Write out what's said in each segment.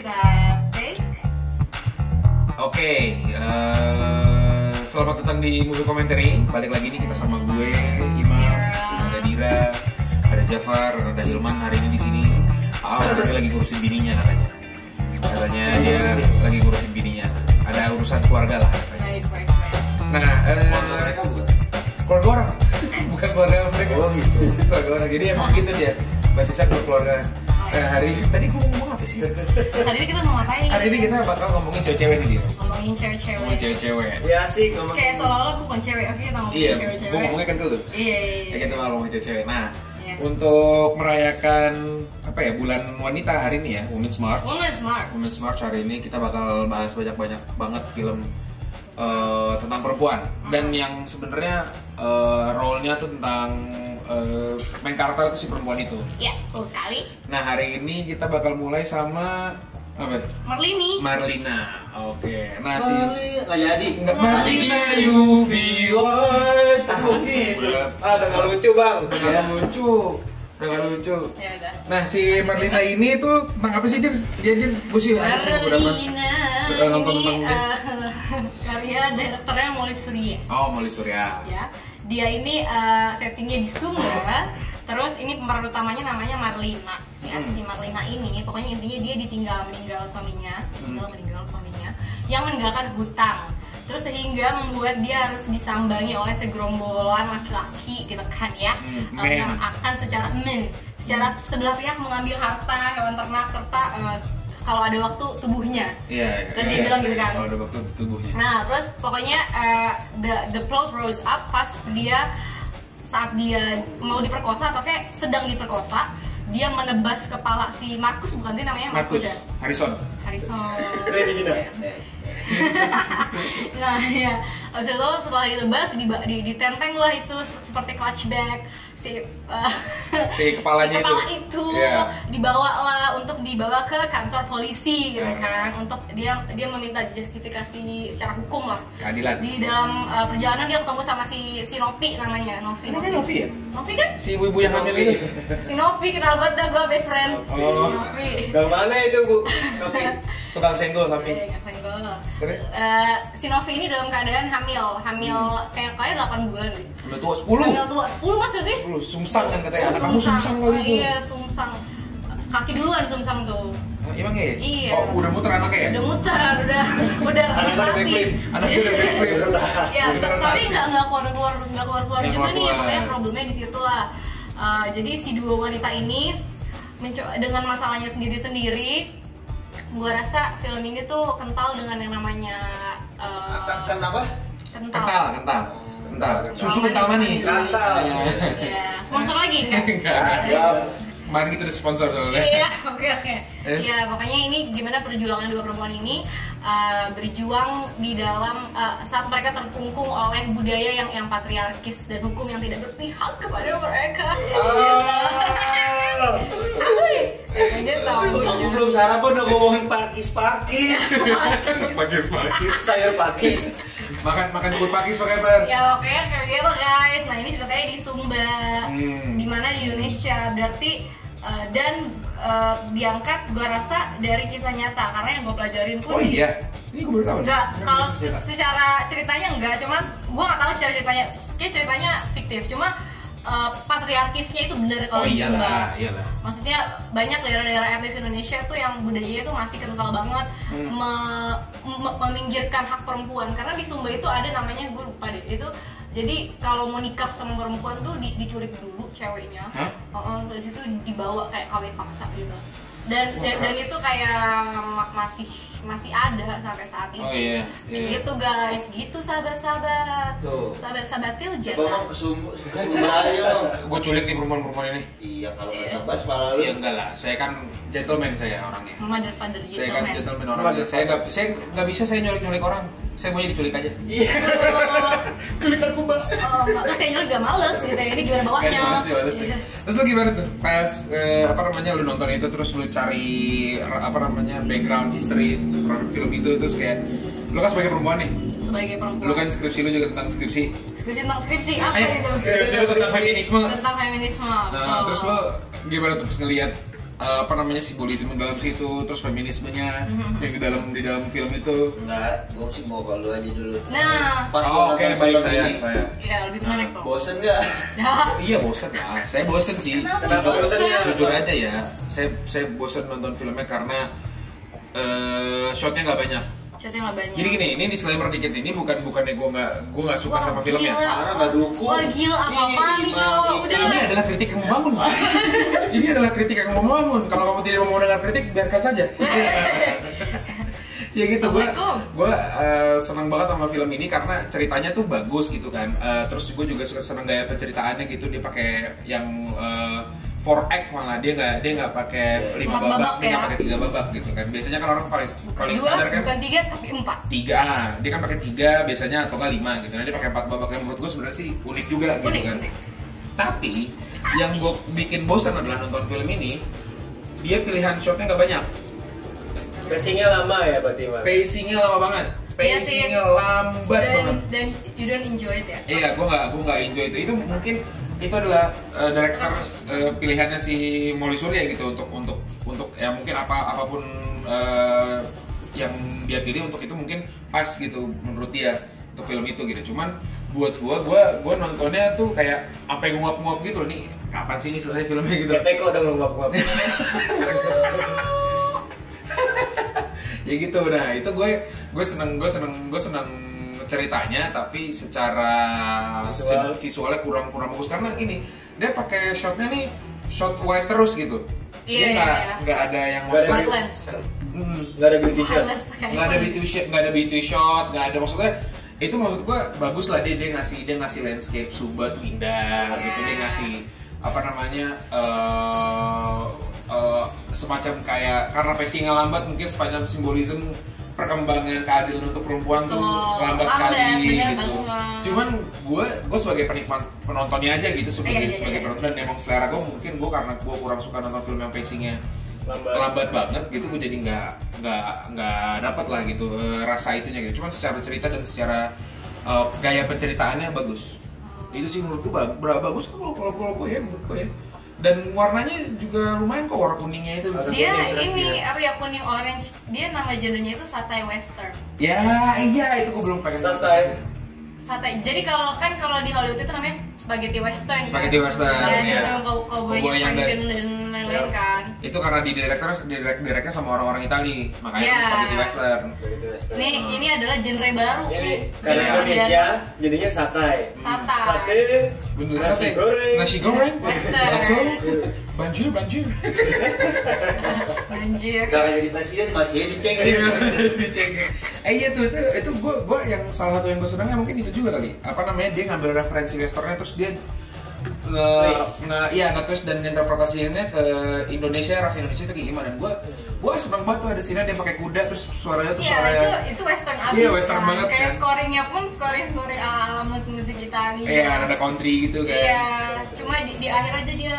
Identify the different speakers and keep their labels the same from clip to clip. Speaker 1: kita take
Speaker 2: Oke, eh, selamat datang di Movie Commentary. Balik lagi nih kita sama gue, Imam, ada Dira, ada Jafar, ada Hilman hari ini di sini. Ah, oh, dia lagi ngurusin bininya katanya. Katanya dia lagi ngurusin bininya. Ada urusan keluarga lah. katanya.
Speaker 1: baik baik baik
Speaker 2: Nah, eh,
Speaker 3: Warna mereka bukan.
Speaker 2: keluarga orang, bukan keluarga mereka.
Speaker 3: Oh, gitu.
Speaker 2: Keluarga orang. Jadi emang gitu dia. Basisnya keluarga. Eh, hari tadi gue ngomong apa sih?
Speaker 1: hari ini kita mau ngapain
Speaker 2: Hari ini kita bakal ngomongin cewek-cewek nih dia.
Speaker 1: ngomongin
Speaker 2: Ngomongin
Speaker 1: cewek-cewek
Speaker 2: cewek-cewek.
Speaker 3: Ya sih ngomong.
Speaker 1: kayak seolah-olah aku bukan cewek oke kita ngomongin
Speaker 2: Iya, gue
Speaker 1: cewek-cewek
Speaker 2: ngomongnya kan dulu.
Speaker 1: iya
Speaker 2: Ya
Speaker 1: iya iya
Speaker 2: kita malah ngomongin cewek-cewek. Nah,
Speaker 1: Iya.
Speaker 2: untuk merayakan apa ya bulan wanita hari ini ya, Women's March.
Speaker 1: woman smart
Speaker 2: Women's March hari ini kita bakal bahas banyak-banyak banget film eh, tentang perempuan
Speaker 1: Hmm.
Speaker 2: dan yang sebenarnya eh, role-nya tuh tentang eh, main karakter itu si perempuan itu.
Speaker 1: ya betul sekali
Speaker 2: Nah, hari ini kita bakal mulai sama apa?
Speaker 1: Marlini
Speaker 2: Marlina. Oke. Nah, si
Speaker 3: Iya Nggak jadi.
Speaker 2: Nggak- Marlina Yuvi.
Speaker 3: Tahu gitu. Ah, udah nggak lucu bang.
Speaker 2: Udah lucu. Udah lucu.
Speaker 1: ya udah
Speaker 2: Nah si Marlina ini tuh tentang apa sih Dir? Dia Dir, gue sih Iya, ada sih beberapa
Speaker 1: Marlina
Speaker 2: Udah nonton
Speaker 1: ini
Speaker 2: tentang
Speaker 1: eh, karya direkturnya Molly Surya
Speaker 2: Oh Moli Surya
Speaker 1: ya dia ini eh, settingnya di Sumba terus ini pemeran utamanya namanya Marlina ya
Speaker 2: Hmm.
Speaker 1: si Marlina ini pokoknya intinya dia ditinggal meninggal suaminya ditinggal
Speaker 2: Hmm.
Speaker 1: meninggal suaminya yang meninggalkan hutang terus sehingga membuat dia harus disambangi oleh segerombolan laki-laki gitu kan ya
Speaker 2: Hmm,
Speaker 1: eh,
Speaker 2: men.
Speaker 1: yang akan secara men secara sebelah pihak mengambil harta hewan ternak serta eh, kalau ada waktu tubuhnya
Speaker 2: Iya
Speaker 1: Dan dia
Speaker 2: iya.
Speaker 1: bilang gitu kan.
Speaker 2: Kalau ada waktu tubuhnya
Speaker 1: Nah, terus pokoknya eh, the the plot rose up pas dia saat dia mau diperkosa atau kayak sedang diperkosa, dia menebas kepala si Markus bukan sih namanya Markus.
Speaker 2: Markus
Speaker 1: ya?
Speaker 2: Harrison
Speaker 1: Harrison.
Speaker 3: Regina.
Speaker 1: nah ya, abis itu setelah ditebas di, di, ditenteng lah itu seperti clutch bag si eh,
Speaker 2: Si
Speaker 1: si
Speaker 2: kepalanya
Speaker 1: kepala
Speaker 2: itu.
Speaker 1: itu,
Speaker 2: Iya.
Speaker 1: dibawa lah untuk dibawa ke kantor polisi gitu
Speaker 2: Nah.
Speaker 1: kan untuk dia dia meminta justifikasi secara hukum lah
Speaker 2: Keadilan
Speaker 1: di dalam uh, perjalanan dia ketemu sama si si Nopi namanya Novi
Speaker 2: Namanya Novi ya?
Speaker 1: Novi kan
Speaker 2: Si ibu-ibu yang hamil ini
Speaker 1: si Novi kenal banget dah gue best friend
Speaker 2: Oh.
Speaker 1: Novi
Speaker 3: Gang mana itu bu? Tapi
Speaker 2: Tukang senggol
Speaker 1: Iya,
Speaker 2: samping
Speaker 1: nggak senggol.
Speaker 2: Terus?
Speaker 1: Eh, si Novi ini dalam keadaan hamil, hamil
Speaker 2: Hmm.
Speaker 1: kayak kayak 8 bulan deh.
Speaker 2: Udah tua
Speaker 1: Hamil
Speaker 2: 10
Speaker 1: tua, 10 masa sih?
Speaker 2: 10 Sungsang kan katanya Anak kamu sungsang kali
Speaker 1: Oh,
Speaker 2: itu
Speaker 1: Iya, sungsang. Kaki duluan sungsang tuh.
Speaker 2: Oh, Emang ya?
Speaker 1: Iya.
Speaker 2: Oh udah muter anaknya ya?
Speaker 1: Udah muter, udah udah
Speaker 2: Anaknya udah
Speaker 1: rotasi.
Speaker 2: backflip Anaknya udah backflip
Speaker 1: ya
Speaker 2: Udah
Speaker 1: t- tapi
Speaker 2: rotasi.
Speaker 1: nggak nggak keluar keluar nggak keluar keluar
Speaker 2: Nggak
Speaker 1: juga nih
Speaker 2: keluar-keluar.
Speaker 1: makanya problemnya di situ lah Eh, jadi si dua wanita ini menco- dengan masalahnya sendiri sendiri gue rasa film ini tuh kental dengan yang namanya eh,
Speaker 3: kenapa?
Speaker 2: Kental,
Speaker 1: kental
Speaker 2: kental Kental Susu
Speaker 1: Kental
Speaker 2: kental
Speaker 1: manis.
Speaker 2: manis
Speaker 3: Kental.
Speaker 2: Iya.
Speaker 1: ya sponsor lagi kan
Speaker 2: Enggak
Speaker 3: Ya.
Speaker 2: Kemarin kita udah sponsor soalnya
Speaker 1: Iya, oke oke.
Speaker 2: Terus?
Speaker 1: Ya pokoknya ini gimana perjuangan dua perempuan ini uh, berjuang di dalam uh, saat mereka terkungkung oleh budaya yang yang patriarkis dan hukum yang tidak berpihak kepada mereka. Iya, kan?
Speaker 3: Ah.
Speaker 1: Aduh, ini tahu.
Speaker 3: Aku belum sarapan udah ngomongin pakis pakis.
Speaker 2: Pakis, pakis
Speaker 3: Sayur pakis.
Speaker 2: Makan, makan kue pakis pakai per
Speaker 1: Ya oke, kayak gitu guys. Nah ini ceritanya di Sumba,
Speaker 2: Hmm.
Speaker 1: di mana di Indonesia berarti uh, dan uh, diangkat gue rasa dari kisah nyata karena yang gue pelajarin pun
Speaker 2: Oh
Speaker 1: di-
Speaker 2: iya, ini gue baru tahu. nih.
Speaker 1: Enggak,
Speaker 2: Kenapa
Speaker 1: kalau
Speaker 2: bisa
Speaker 1: se-
Speaker 2: cerita?
Speaker 1: secara ceritanya enggak, cuma gue gak tahu secara ceritanya, kayak ceritanya fiktif, cuma eh, patriarkisnya itu bener kalau
Speaker 2: Oh
Speaker 1: di Sumba.
Speaker 2: iyalah, iyalah.
Speaker 1: Maksudnya banyak daerah-daerah etnis Indonesia tuh yang budayanya itu masih kental banget
Speaker 2: Hmm.
Speaker 1: me- me- meminggirkan hak perempuan karena di Sumba itu ada namanya gue lupa deh itu jadi kalau mau nikah sama perempuan tuh di- diculik dulu ceweknya,
Speaker 2: Hah?
Speaker 1: Heeh, terus itu dibawa kayak kawin paksa gitu. Dan
Speaker 2: Wah,
Speaker 1: dan, dan
Speaker 2: keras.
Speaker 1: itu kayak ma- masih masih ada sampai saat ini.
Speaker 2: Oh iya, iya.
Speaker 1: Gitu guys, gitu sahabat-sahabat.
Speaker 3: Tuh.
Speaker 1: Sahabat-sahabat tiljan.
Speaker 4: Coba mau ke Sumba, ke Sumba aja bang.
Speaker 2: Gue culik nih perempuan-perempuan ini.
Speaker 4: Iya kalau nggak tebas malah lu.
Speaker 2: Iya enggak lah, saya kan gentleman saya orangnya.
Speaker 1: Mother father
Speaker 2: Saya kan
Speaker 1: Hmm, gentleman.
Speaker 2: gentleman orangnya. Saya nggak, saya nggak bisa saya nyulik-nyulik orang. Saya mau diculik aja.
Speaker 3: Iya.
Speaker 2: Culik aku mbak.
Speaker 1: Oh, oh, terus kayaknya lu gak males gitu ya, ini gimana bawahnya
Speaker 2: Pasti, pasti.
Speaker 1: Iya.
Speaker 2: Terus lu gimana tuh? Pas eh, apa namanya lu nonton itu terus lu cari eh, apa namanya background history film itu terus kayak lu kan sebagai perempuan nih,
Speaker 1: Sebagai perempuan
Speaker 2: lu kan skripsi lu juga tentang skripsi.
Speaker 1: Skripsi tentang skripsi, apa
Speaker 2: Eh,
Speaker 1: itu?
Speaker 2: skripsi lu tentang feminisme.
Speaker 1: Tentang feminisme
Speaker 2: Nah,
Speaker 1: Oh.
Speaker 2: terus lo gimana tuh pas ngelihat eh, apa namanya simbolisme dalam situ, terus feminismenya
Speaker 1: Mhm.
Speaker 2: yang di dalam di dalam film itu.
Speaker 4: Enggak, gue sih mau kalau aja dulu.
Speaker 1: Nah.
Speaker 4: Pas gua
Speaker 2: Oh, oke
Speaker 4: nonton
Speaker 2: baik
Speaker 4: film
Speaker 2: saya
Speaker 4: ini,
Speaker 2: saya.
Speaker 1: Ya lebih menarik kok.
Speaker 4: Bosen nggak?
Speaker 1: Dah.
Speaker 2: Iya bosen lah, saya bosen sih.
Speaker 1: Kenapa?
Speaker 3: Kenapa bosennya?
Speaker 2: Jujur aja ya, saya saya bosen nonton filmnya karena eh, shotnya nggak banyak.
Speaker 1: Shotnya nggak banyak.
Speaker 2: Jadi gini, ini disclaimer dikit ini bukan bukannya gue nggak gue nggak suka
Speaker 1: Wah,
Speaker 2: sama filmnya.
Speaker 1: gila.
Speaker 4: Karena nggak dukung.
Speaker 1: Wah gila apa apa
Speaker 4: Ih,
Speaker 1: nih cowok
Speaker 4: mati.
Speaker 1: udah.
Speaker 2: Ini adalah kritik yang membangun. Pak. ini adalah kritik yang membangun. Kalau kamu tidak mau mendengar kritik, biarkan saja. ya gitu gue
Speaker 1: Assalamualaikum.
Speaker 2: gue senang banget sama film ini karena ceritanya tuh bagus gitu kan. Eh, terus gue juga suka senang gaya penceritaannya gitu dia pakai yang eh, four act malah dia nggak dia nggak pakai
Speaker 1: Empat
Speaker 2: lima babak,
Speaker 1: babak
Speaker 2: dia nggak
Speaker 1: ya.
Speaker 2: pakai tiga babak gitu kan. Biasanya kan orang paling paling
Speaker 1: Dua
Speaker 2: standar kan
Speaker 1: bukan tiga tapi empat.
Speaker 2: tiga ah, dia kan pakai tiga biasanya atau nggak lima gitu nah dia pakai empat babak yang menurut gue sebenarnya sih unik juga gitu
Speaker 1: Unik,
Speaker 2: kan
Speaker 1: unik.
Speaker 2: tapi yang gue bikin bosan adalah nonton film ini dia pilihan shotnya nggak banyak
Speaker 3: Casingnya lama ya berarti Bang?
Speaker 2: pacingnya lama banget
Speaker 1: Iya sih.
Speaker 2: pacingnya lambat banget
Speaker 1: Dan dan you don't enjoy it ya.
Speaker 2: iya gue nggak gue nggak enjoy itu itu mungkin itu adalah uh, director uh, pilihannya si Molly Surya gitu untuk untuk untuk ya mungkin apa apapun uh, yang dia pilih untuk itu mungkin pas gitu menurut dia untuk film itu gitu cuman buat gua gua gua nontonnya tuh kayak apa yang nguap-nguap gitu nih kapan sih ini selesai filmnya gitu
Speaker 3: Ketek udah ngeluap-nguap.
Speaker 2: ya gitu nah itu gue gue seneng gue seneng gue seneng ceritanya tapi secara
Speaker 3: Visual.
Speaker 2: sin- visualnya kurang kurang bagus karena gini dia pakai shotnya nih shot wide terus gitu
Speaker 1: Iya,
Speaker 2: dia
Speaker 1: iya,
Speaker 2: nggak
Speaker 1: iya.
Speaker 2: nggak ada yang
Speaker 3: Nggak ada
Speaker 1: White
Speaker 3: yang-
Speaker 1: lens.
Speaker 2: Hmm,
Speaker 3: Nggak ada beauty shot.
Speaker 1: White lens pakai
Speaker 2: nggak ada
Speaker 1: iPhone.
Speaker 2: beauty shot nggak ada beauty shot nggak ada maksudnya itu maksud gue bagus lah dia dia ngasih dia ngasih landscape Subak indah
Speaker 1: Iya.
Speaker 2: gitu dia ngasih apa namanya eh, eh, semacam kayak karena pacingnya lambat mungkin sepanjang simbolisme perkembangan keadilan untuk perempuan tuh
Speaker 1: Betul.
Speaker 2: lambat
Speaker 1: Lambat,
Speaker 2: sekali
Speaker 1: bener
Speaker 2: gitu.
Speaker 1: banget.
Speaker 2: Cuman gue gue sebagai penikmat penontonnya aja gitu sebagai
Speaker 1: Iya, iya, iya.
Speaker 2: sebagai penonton dan emang selera gue mungkin gue karena gue kurang suka nonton film yang pacingnya
Speaker 3: Lambat.
Speaker 2: lambat banget gitu gue jadi nggak nggak nggak dapat lah gitu eh, rasa itunya gitu cuman secara cerita dan secara eh, gaya penceritaannya bagus itu sih menurut gue bag- bra- bagus kok kalau kalau kalau gue ya menurut gue ya dan warnanya juga lumayan kok warna kuningnya itu
Speaker 1: Dia
Speaker 3: Ada kuning, kan? terus
Speaker 1: ini
Speaker 3: dia.
Speaker 1: apa ya kuning orange. Dia nama genrenya itu satay western.
Speaker 2: ya iya itu gue belum pengen
Speaker 3: Santai.
Speaker 1: Satay. Jadi kalau kan kalau di Hollywood itu namanya spaghetti western. kan?
Speaker 2: Spaghetti western,
Speaker 1: Kayak
Speaker 2: iya.
Speaker 1: film kau kau
Speaker 2: Cowboy yang dari-
Speaker 1: Franklin dan lain-lain
Speaker 3: Iya.
Speaker 1: kan.
Speaker 2: itu karena di direktur direk direknya sama orang-orang Itali makanya
Speaker 1: Ya.
Speaker 2: yeah. spaghetti western
Speaker 3: Beauty western.
Speaker 1: Nih ini adalah genre baru.
Speaker 3: Ini
Speaker 1: nih.
Speaker 3: karena
Speaker 2: Iya.
Speaker 3: Indonesia jadinya satay.
Speaker 1: Satay.
Speaker 3: Sate.
Speaker 2: Bumbu
Speaker 3: Nasi
Speaker 2: sate.
Speaker 3: goreng.
Speaker 2: nasi goreng
Speaker 1: Western.
Speaker 2: langsung banjir banjir
Speaker 1: Anjir.
Speaker 4: Nggak jadi presiden masih dicengin.
Speaker 2: Iya, dicengin. Eh iya tuh itu itu gue gue yang salah satu yang gue senangnya mungkin itu juga kali. Apa namanya dia ngambil referensi westernnya terus dia nge, nge iya nge twist dan interpretasinya ke Indonesia ras Indonesia itu kayak gimana? Gue gue seneng banget tuh ada scene dia pakai kuda terus suaranya tuh
Speaker 1: Iya,
Speaker 2: suara
Speaker 1: itu
Speaker 2: yang
Speaker 1: itu western abis.
Speaker 2: Iya, western
Speaker 1: kan.
Speaker 2: banget,
Speaker 1: Kayak
Speaker 2: kan.
Speaker 1: scoringnya pun scoring scoring ala ala musik musik Italia.
Speaker 2: iya ada country gitu kan.
Speaker 1: Iya, cuma di, di akhir aja dia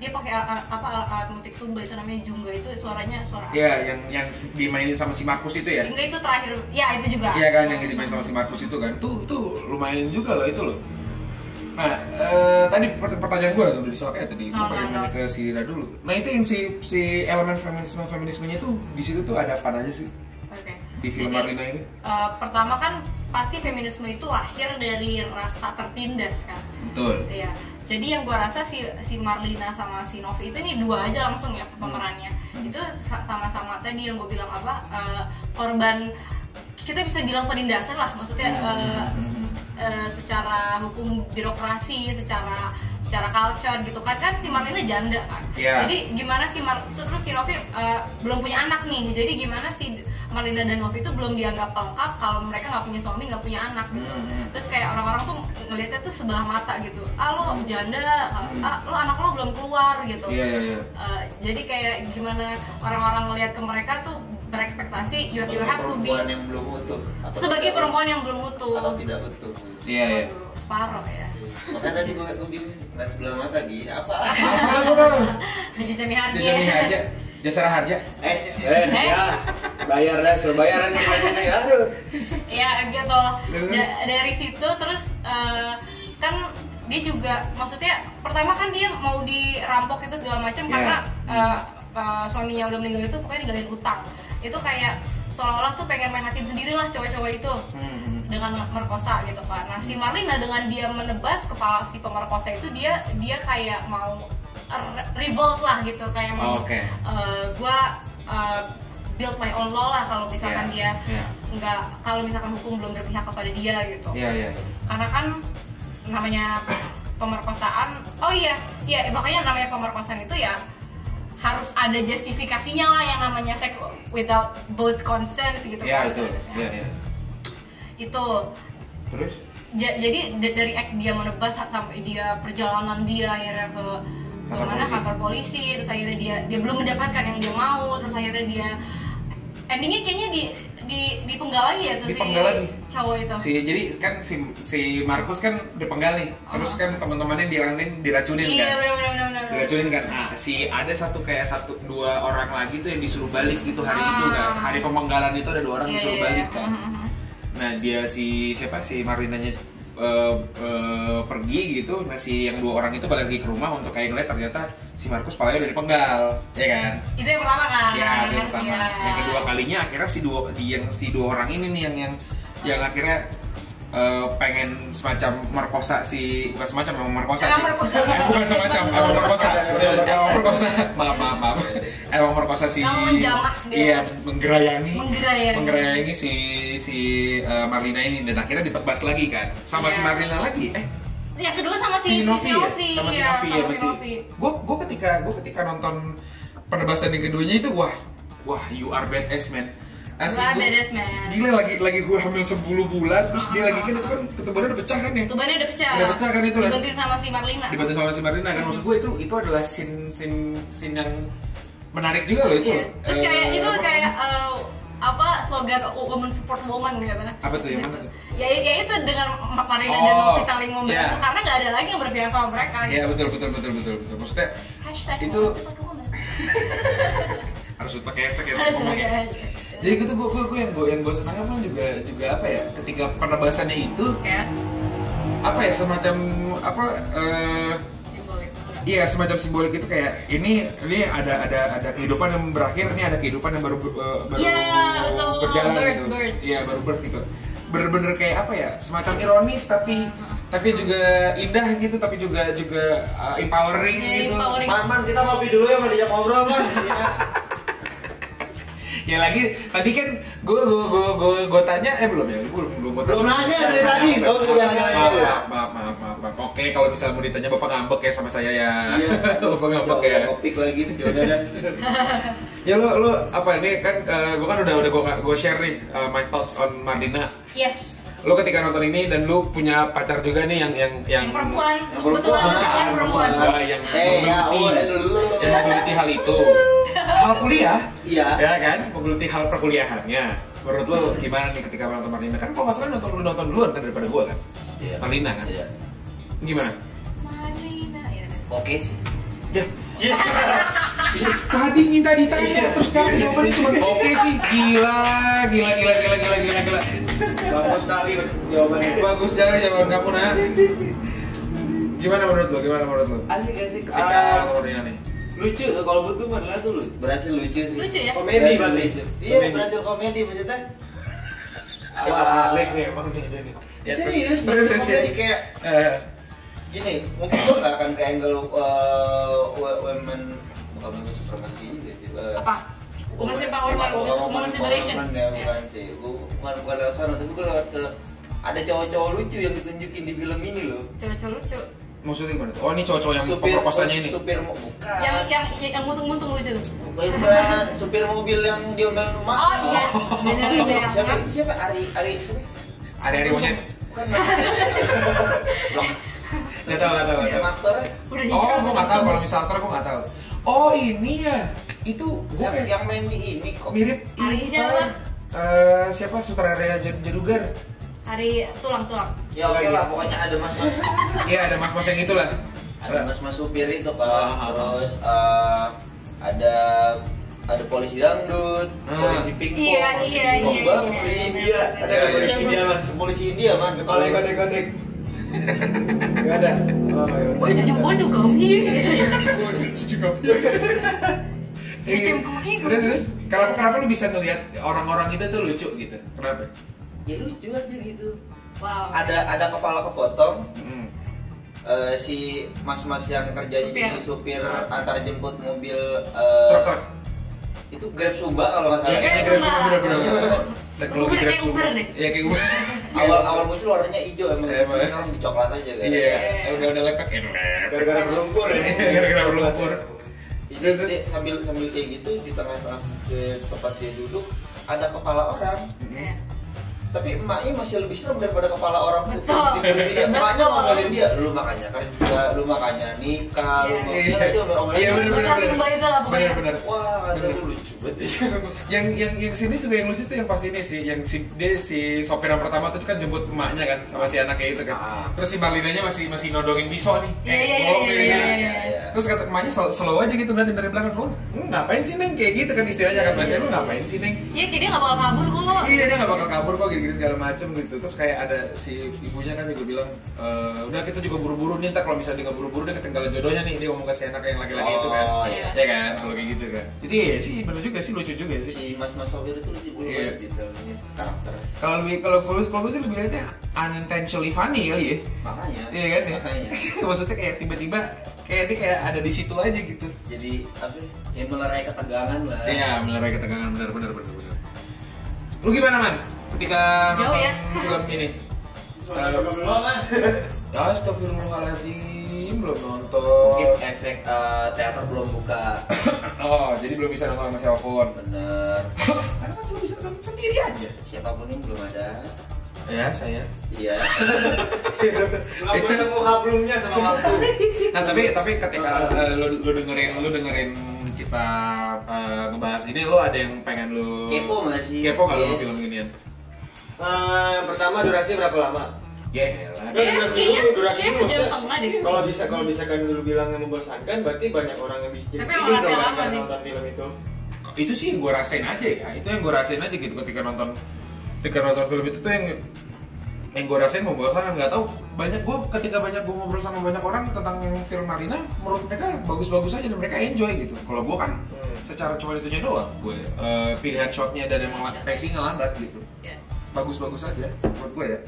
Speaker 1: dia pakai al- al- apa alat, alat musik sumba itu namanya jungga itu suaranya suara.
Speaker 2: Iya, yang yang dimainin sama si Markus itu ya.
Speaker 1: Jungga itu terakhir, ya itu juga.
Speaker 2: Iya kan yang dimain sama si Markus itu kan. Tuh tuh lumayan juga loh itu loh. Nah, eh, tadi pert- pertanyaan gue udah disorot ya tadi. Gue
Speaker 1: Oh, no,
Speaker 2: pengen
Speaker 1: no.
Speaker 2: nanya ke si Ira dulu. Nah, itu yang si si elemen feminisme feminismenya tuh di situ tuh ada apa aja sih
Speaker 1: Oke.
Speaker 2: di
Speaker 1: Jadi,
Speaker 2: film Marlina ini?
Speaker 1: eh, pertama kan pasti feminisme itu lahir dari rasa tertindas kan.
Speaker 2: Betul.
Speaker 1: Iya. Jadi yang gua rasa si si Marlina sama si Novi itu nih dua aja langsung ya pemerannya.
Speaker 2: Hmm.
Speaker 1: Itu sa- sama-sama tadi yang gue bilang apa eh, korban kita bisa bilang penindasan lah
Speaker 2: Hmm.
Speaker 1: maksudnya eh, eh, secara hukum birokrasi, secara secara culture gitu kan kan si Marlina janda kan.
Speaker 2: Iya.
Speaker 1: Jadi gimana si Mar terus si Novi eh, belum punya anak nih. Jadi gimana si Marlina dan Novi itu belum dianggap lengkap kalau mereka nggak punya suami, nggak punya anak gitu
Speaker 2: Hmm.
Speaker 1: terus kayak orang-orang tuh ngelihatnya tuh sebelah mata gitu ah lo janda ah lo anak lo belum keluar gitu
Speaker 2: Hmm. Iya, iya, iya.
Speaker 1: Eh, jadi kayak gimana orang-orang ngelihat ke mereka tuh berekspektasi you, you have to be
Speaker 4: Perempuan yang belum utuh. Atau
Speaker 1: sebagai
Speaker 4: tidak-
Speaker 1: perempuan yang belum utuh
Speaker 4: atau tidak utuh.
Speaker 2: Iya, iya.
Speaker 1: Waduh, separuh ya
Speaker 4: Makanya tadi gue gue bingung nggak sebelah mata gini apa?
Speaker 2: Apa lu tuh?
Speaker 1: Haji Jami Hardi
Speaker 2: Ah, Jasa harja. Jasa harja.
Speaker 4: Eh,
Speaker 3: Eh,
Speaker 1: Eh.
Speaker 3: ya, bayar dah, suruh bayaran nih pokoknya. Aduh.
Speaker 1: ya gitu
Speaker 2: Iya.
Speaker 1: Da- dari situ terus eh, kan dia juga maksudnya pertama kan dia mau dirampok itu segala macam
Speaker 2: Iya.
Speaker 1: karena eh, uh, suaminya udah meninggal itu pokoknya ninggalin utang itu kayak seolah-olah tuh pengen main hakim sendiri lah cowok-cowok itu
Speaker 2: Hmm.
Speaker 1: dengan merkosa gitu kan nah si Marlina dengan dia menebas kepala si pemerkosa itu dia dia kayak mau er- revolt lah gitu kayak mau
Speaker 2: Oh, Oke.
Speaker 1: eh, gua eh, build my own law lah kalau misalkan
Speaker 2: Iya,
Speaker 1: dia
Speaker 2: iya.
Speaker 1: nggak kalau misalkan hukum belum berpihak kepada dia gitu
Speaker 2: Iya, iya.
Speaker 1: karena kan namanya pemerkosaan oh iya iya makanya namanya pemerkosaan itu ya harus ada justifikasinya lah yang namanya sex without both consent gitu
Speaker 2: Iya,
Speaker 1: kan
Speaker 2: itu. Iya, iya.
Speaker 1: itu
Speaker 2: Terus?
Speaker 1: Ja- jadi da- dari act dia menebas sa- sampai dia perjalanan dia akhirnya ke
Speaker 2: Kantor
Speaker 1: kemana
Speaker 2: polisi.
Speaker 1: kantor polisi terus akhirnya dia dia belum mendapatkan yang dia mau terus akhirnya dia endingnya kayaknya di di dipenggal lagi ya tuh
Speaker 2: Dipenggal lagi.
Speaker 1: si cowok itu
Speaker 2: Si jadi kan si si Markus kan dipenggal nih. Terus kan teman-temannya diracunin diracunin
Speaker 1: iya
Speaker 2: kan.
Speaker 1: benar benar benar
Speaker 2: diracunin kan nah, si ada satu kayak satu dua orang lagi tuh yang disuruh balik gitu hari
Speaker 1: Ah.
Speaker 2: itu kan hari pemenggalan itu ada dua orang
Speaker 1: Iya,
Speaker 2: disuruh
Speaker 1: iya,
Speaker 2: balik
Speaker 1: iya.
Speaker 2: kan
Speaker 1: Mhm, mhm.
Speaker 2: nah dia si siapa si Marinanya eh, eh, pergi gitu nah si yang dua orang itu balik lagi ke rumah untuk kayak ngeliat ternyata si Markus palanya udah dipenggal ya kan
Speaker 1: itu yang pertama kan
Speaker 2: ya itu yang pertama
Speaker 1: Iya.
Speaker 2: yang kedua kan? kalinya akhirnya si dua di- yang si dua orang ini nih yang yang yang akhirnya eh, pengen semacam merkosa si bukan semacam emang merkosa
Speaker 1: Emang
Speaker 2: sih.
Speaker 1: merkosa.
Speaker 2: Eh, bukan semacam emang merkosa emang merkosa maaf maaf maaf emang merkosa si
Speaker 1: Emang menjamah dia.
Speaker 2: iya menggerayangi
Speaker 1: Menggerayangi.
Speaker 2: menggerayangi si si eh, Marlina ini dan akhirnya ditebas lagi kan
Speaker 1: Iya.
Speaker 2: sama si Marlina lagi eh
Speaker 1: yang kedua sama si,
Speaker 2: si Novi ya sama si
Speaker 1: iya,
Speaker 2: Novi ya
Speaker 1: sama si
Speaker 2: pasti
Speaker 1: Novi.
Speaker 2: gue gue ketika gue ketika nonton penebasan yang keduanya itu wah wah you are badass man Asli,
Speaker 1: Wah,
Speaker 2: gua-
Speaker 1: badass, man.
Speaker 2: gila lagi lagi gue hamil 10 bulan terus dia lagi kan itu kan ketubannya udah pecah kan ya
Speaker 1: tubannya udah pecah
Speaker 2: Udah pecah kan itu kan?
Speaker 1: dibantuin sama si Marlina
Speaker 2: dibantu sama si Marina kan maksud gue itu itu adalah scene scene scene yang menarik juga loh itu
Speaker 1: Iya.
Speaker 2: loh.
Speaker 1: terus
Speaker 2: Eh,
Speaker 1: kayak itu
Speaker 2: apa
Speaker 1: kayak
Speaker 2: namanya?
Speaker 1: eh, apa slogan woman support woman gitu kan
Speaker 2: Apa tuh, yang mana tuh?
Speaker 1: ya, ya itu dengan Marlina
Speaker 2: Oh,
Speaker 1: dan Novi saling ngomong
Speaker 2: iya.
Speaker 1: itu karena nggak ada lagi yang berpihak sama mereka gitu.
Speaker 2: Iya betul betul betul betul betul maksudnya
Speaker 1: hashtag
Speaker 2: Itu-
Speaker 1: woman support woman.
Speaker 2: harus pakai hashtag ya
Speaker 1: Harus
Speaker 2: ngomongnya.
Speaker 1: pakai-
Speaker 2: jadi gitu gue gue gue yang gue yang gue senang kan juga juga apa ya ketika penebasannya itu
Speaker 1: ya
Speaker 2: apa ya semacam apa eh,
Speaker 1: simbolik.
Speaker 2: iya semacam simbolik itu kayak ini ini ada ada ada kehidupan yang berakhir ini ada kehidupan yang baru ber- eh, baru
Speaker 1: Iya, betul.
Speaker 2: berjalan
Speaker 1: Birth,
Speaker 2: gitu
Speaker 1: birth.
Speaker 2: iya baru birth gitu bener-bener kayak apa ya semacam ironis tapi tapi juga indah gitu tapi juga juga eh, empowering
Speaker 1: Iya,
Speaker 2: gitu
Speaker 1: empowering.
Speaker 3: Man, man, kita ngopi dulu ya, mau diajak ngobrol man. Iya.
Speaker 2: ya lagi tadi kan gue gue gue gue gue tanya eh belum ya gue belum belum gua
Speaker 3: Belum
Speaker 2: tanya.
Speaker 3: nanya dari tadi, kau
Speaker 2: Maaf,
Speaker 3: udah
Speaker 2: maaf,
Speaker 3: nanya dulu ya.
Speaker 2: maaf, maaf, maaf, maaf, maaf. oke kalau misalnya mau ditanya bapak ngambek ya sama saya ya
Speaker 3: Iya.
Speaker 2: bapak ngambek ya
Speaker 4: Topik lagi tuh jodoh dan
Speaker 2: ya lo lo apa ini kan gue kan udah udah gue gue share nih eh, my thoughts on Marlina
Speaker 1: yes
Speaker 2: lo ketika nonton ini dan lo punya pacar juga nih yang yang yang,
Speaker 1: yang perempuan
Speaker 4: yang
Speaker 1: kebetulan
Speaker 4: perempuan.
Speaker 1: banget yang perempuan
Speaker 2: Gua Ya. yang
Speaker 4: Eh, ya, udah
Speaker 2: menggeluti
Speaker 4: dulu.
Speaker 2: yang menggeluti hal itu hal kuliah
Speaker 4: Iya.
Speaker 2: ya kan menggeluti hal perkuliahannya menurut lo gimana nih ketika nonton Marlina kan kalau masalah nonton lu nonton duluan kan daripada gue kan
Speaker 4: Iya.
Speaker 2: Marlina kan
Speaker 4: Iya.
Speaker 2: gimana
Speaker 1: Marlina ya
Speaker 4: Oke sih.
Speaker 2: ya tadi minta ditanya terus sekarang jawabannya cuma oke sih gila gila gila gila gila gila gila
Speaker 3: Bagus sekali jawabannya.
Speaker 2: bagus jalan jawaban kamu nah gimana menurut lo gimana menurut lo
Speaker 3: Asik asik.
Speaker 2: ketika
Speaker 3: Ah,
Speaker 2: Marlina nih
Speaker 3: lucu tuh kalau buat gue Marlina tuh lucu.
Speaker 4: Berhasil lucu sih.
Speaker 1: lucu ya
Speaker 3: Komedi
Speaker 4: Berhasil
Speaker 3: berarti.
Speaker 4: lucu. Iya,
Speaker 3: Komedi.
Speaker 4: berhasil komedi maksudnya.
Speaker 3: Wah,
Speaker 4: Ah,
Speaker 3: asik nih emang nih. dia nih.
Speaker 2: Ya,
Speaker 4: Serius,
Speaker 2: terus-
Speaker 4: berhasil komedi kayak
Speaker 2: Eh,
Speaker 4: gini mungkin gue nggak akan ke angle uh, wo- women bukan women supremacy juga sih uh,
Speaker 1: apa woman empowerment woman woman civilization
Speaker 4: empowerment ya, bukan
Speaker 1: Iya.
Speaker 4: sih gue bukan bukan lewat sana tapi gue lewat ke ada cowok-cowok lucu yang ditunjukin di film ini loh
Speaker 1: cowok-cowok lucu
Speaker 2: maksudnya gimana? tuh? Oh ini cowok-cowok yang pemerkosanya ini.
Speaker 4: supir mo- bukan
Speaker 1: yang yang yang muntung-muntung lucu tuh
Speaker 4: bukan supir mobil yang diomelin rumah
Speaker 1: Oh, iya. Bener, bener.
Speaker 4: siapa itu siapa Ari Ari siapa
Speaker 2: Ada-ada monyet.
Speaker 4: bukan Blok.
Speaker 2: Gak tau, gak tau, gak
Speaker 4: Yang
Speaker 2: tau.
Speaker 4: aktor
Speaker 1: udah
Speaker 2: Oh,
Speaker 1: nyicil
Speaker 2: gue gak tau kalau misal aktor gue gak tau. Oh ini ya, itu gue
Speaker 4: yang, yang main di ini kok
Speaker 2: mirip
Speaker 1: ya? Ari
Speaker 2: ini,
Speaker 1: siapa?
Speaker 2: tau. Eh, siapa sutradara Jad- Jadugar?
Speaker 1: hari tulang-tulang
Speaker 3: Ya oke lah, pokoknya ada mas-mas.
Speaker 2: Iya ada mas-mas yang itulah.
Speaker 4: ada mas mas supir itu kan
Speaker 2: Ah, ah, ah.
Speaker 4: terus eh, ada ada polisi dangdut
Speaker 2: Ah.
Speaker 4: polisi pingpong
Speaker 1: Iya,
Speaker 4: polisi
Speaker 1: iya,
Speaker 4: pingpong
Speaker 1: iya,
Speaker 4: banget.
Speaker 1: iya.
Speaker 3: Di India, ada
Speaker 2: Iya,
Speaker 3: nggak
Speaker 2: iya.
Speaker 3: polisi India mas?
Speaker 4: polisi India man
Speaker 3: Kalau yang kodek-kodek. Gak ada. Oh, ya udah.
Speaker 1: Iya,
Speaker 2: Iya.
Speaker 1: Waduh, waduh, kami.
Speaker 2: Cucu kopi.
Speaker 1: Macam kuki,
Speaker 2: Iya. Terus,
Speaker 1: kuki.
Speaker 2: terus, kenapa kenapa lu bisa ngelihat orang-orang itu tuh lucu gitu? Kenapa?
Speaker 4: ya lucu aja gitu
Speaker 1: Wow.
Speaker 4: ada ada kepala kepotong
Speaker 2: Hmm.
Speaker 4: eh, si mas-mas yang kerjanya jadi supir antar jemput mobil eh,
Speaker 2: Truk, truk.
Speaker 4: itu grab suba kalau nggak
Speaker 2: Ya,
Speaker 4: salah
Speaker 2: kayaknya
Speaker 1: Grab
Speaker 2: Grab Suba
Speaker 1: Suba.
Speaker 2: bener-bener. Dan kalau di
Speaker 1: Uber,
Speaker 2: Grab
Speaker 1: kayak
Speaker 2: Suba-
Speaker 1: Uber deh.
Speaker 2: Iya, kayak Uber.
Speaker 4: awal awal muncul warnanya hijau emang
Speaker 2: Emang.
Speaker 4: orang di coklat aja kan
Speaker 2: Iya, udah udah lepek ya.
Speaker 3: Gara-gara berlumpur ya.
Speaker 2: Gara-gara berlumpur.
Speaker 4: jadi
Speaker 2: Iya, Terus, terus.
Speaker 4: dia sambil sambil kayak gitu di tengah-tengah ke tempat dia duduk ada kepala orang
Speaker 1: Iya.
Speaker 4: tapi emaknya masih lebih serem daripada kepala orang
Speaker 1: Betul.
Speaker 4: Terus di- dia, emaknya
Speaker 1: Betul.
Speaker 4: ngomelin dia lu makanya kerja lu makanya nikah lu
Speaker 1: Iya.
Speaker 4: makanya dia ngomelin
Speaker 2: Iya, bener-bener.
Speaker 1: Kasih kembali itu lah pokoknya.
Speaker 2: Bener-bener.
Speaker 4: wah ada
Speaker 2: Bener.
Speaker 4: lu lucu banget
Speaker 2: yang yang yang sini juga yang lucu tuh yang pas ini sih yang si dia si sopir yang pertama tuh kan jemput emaknya kan sama si anaknya itu kan
Speaker 4: Ah.
Speaker 2: terus si balinanya masih masih nodongin pisau nih
Speaker 1: Iya,
Speaker 2: Eh,
Speaker 1: iya,
Speaker 2: golok
Speaker 1: iya,
Speaker 2: nih,
Speaker 1: iya,
Speaker 2: gitu.
Speaker 1: iya,
Speaker 4: iya.
Speaker 2: terus kata emaknya slow, slow aja gitu nanti dari belakang lu "Hmm, ngapain sih neng kayak gitu kan istilahnya kan bahasanya lu ngapain sih neng
Speaker 1: Iya, jadi nggak bakal kabur kok.
Speaker 2: Iya dia nggak bakal kabur kok gini-gini segala macem gitu Terus kayak ada si ibunya kan juga bilang e, Udah kita juga buru-buru nih ntar kalau misalnya nggak buru-buru dia ketinggalan jodohnya nih Dia ngomong ke si anak yang laki-laki itu kan
Speaker 4: Oh,
Speaker 1: iya.
Speaker 2: Ya kan kalau kayak gitu kan Jadi iya sih bener juga sih lucu juga sih
Speaker 4: si mas mas sopir itu lucu banget
Speaker 2: Iya.
Speaker 4: gitu ini karakter
Speaker 2: Kalau lebih kalau kalau kalau sih lebih lihatnya unintentionally funny kali ya
Speaker 4: makanya
Speaker 2: Iya kan ya
Speaker 4: makanya
Speaker 2: Maksudnya kayak tiba-tiba kayak dia kayak ada di situ aja gitu
Speaker 4: jadi apa ya, ya melerai ketegangan lah
Speaker 2: Iya melerai ketegangan benar-benar benar-benar Lu gimana man? Ketika
Speaker 1: Jauh
Speaker 2: nonton
Speaker 1: ya.
Speaker 2: film ini Eh,
Speaker 3: Belum, Mas.
Speaker 2: Ya, Astagfirullahaladzim belum nonton.
Speaker 4: mungkin efek eh, teater belum buka
Speaker 2: Oh, jadi belum bisa nonton sama siapapun.
Speaker 4: bener
Speaker 2: Karena kan belum bisa nonton sendiri aja.
Speaker 4: siapapun yang belum ada
Speaker 2: Ya, saya.
Speaker 4: iya
Speaker 3: Belum ketemu hablumnya sama waktu.
Speaker 2: Nah, tapi tapi ketika eh, lu, lu dengerin lu dengerin kita eh, ngebahas ini lu ada yang pengen lu
Speaker 4: Kepo nggak sih?
Speaker 2: Kepo nggak lu sama
Speaker 4: Yes.
Speaker 2: film ginian?
Speaker 3: Eh, pertama durasi berapa lama?
Speaker 2: Yelah.
Speaker 1: Iya, kayaknya- kayaknya
Speaker 3: dulu,
Speaker 1: sejam
Speaker 3: Mas.
Speaker 1: setengah deh.
Speaker 3: Kalau bisa kalau bisa kalian dulu bilang yang membosankan, berarti banyak orang yang bisa
Speaker 1: Tapi
Speaker 3: jadi
Speaker 1: emang
Speaker 3: gitu
Speaker 1: rasanya
Speaker 3: kan,
Speaker 1: lama
Speaker 3: yang
Speaker 1: sih.
Speaker 3: nonton film itu.
Speaker 2: itu sih yang gue rasain aja ya itu yang gue rasain aja gitu ketika nonton ketika nonton film itu tuh yang yang gue rasain membosankan nggak tahu banyak gue ketika banyak gue ngobrol sama banyak orang tentang yang film Marina menurut mereka bagus-bagus aja dan mereka enjoy gitu kalau gue kan
Speaker 3: Hmm.
Speaker 2: secara cuma itunya doang gue eh, pilihan shotnya dan emang la- pacingnya lambat gitu
Speaker 1: Yes.
Speaker 2: bagus-bagus aja menurut gue ya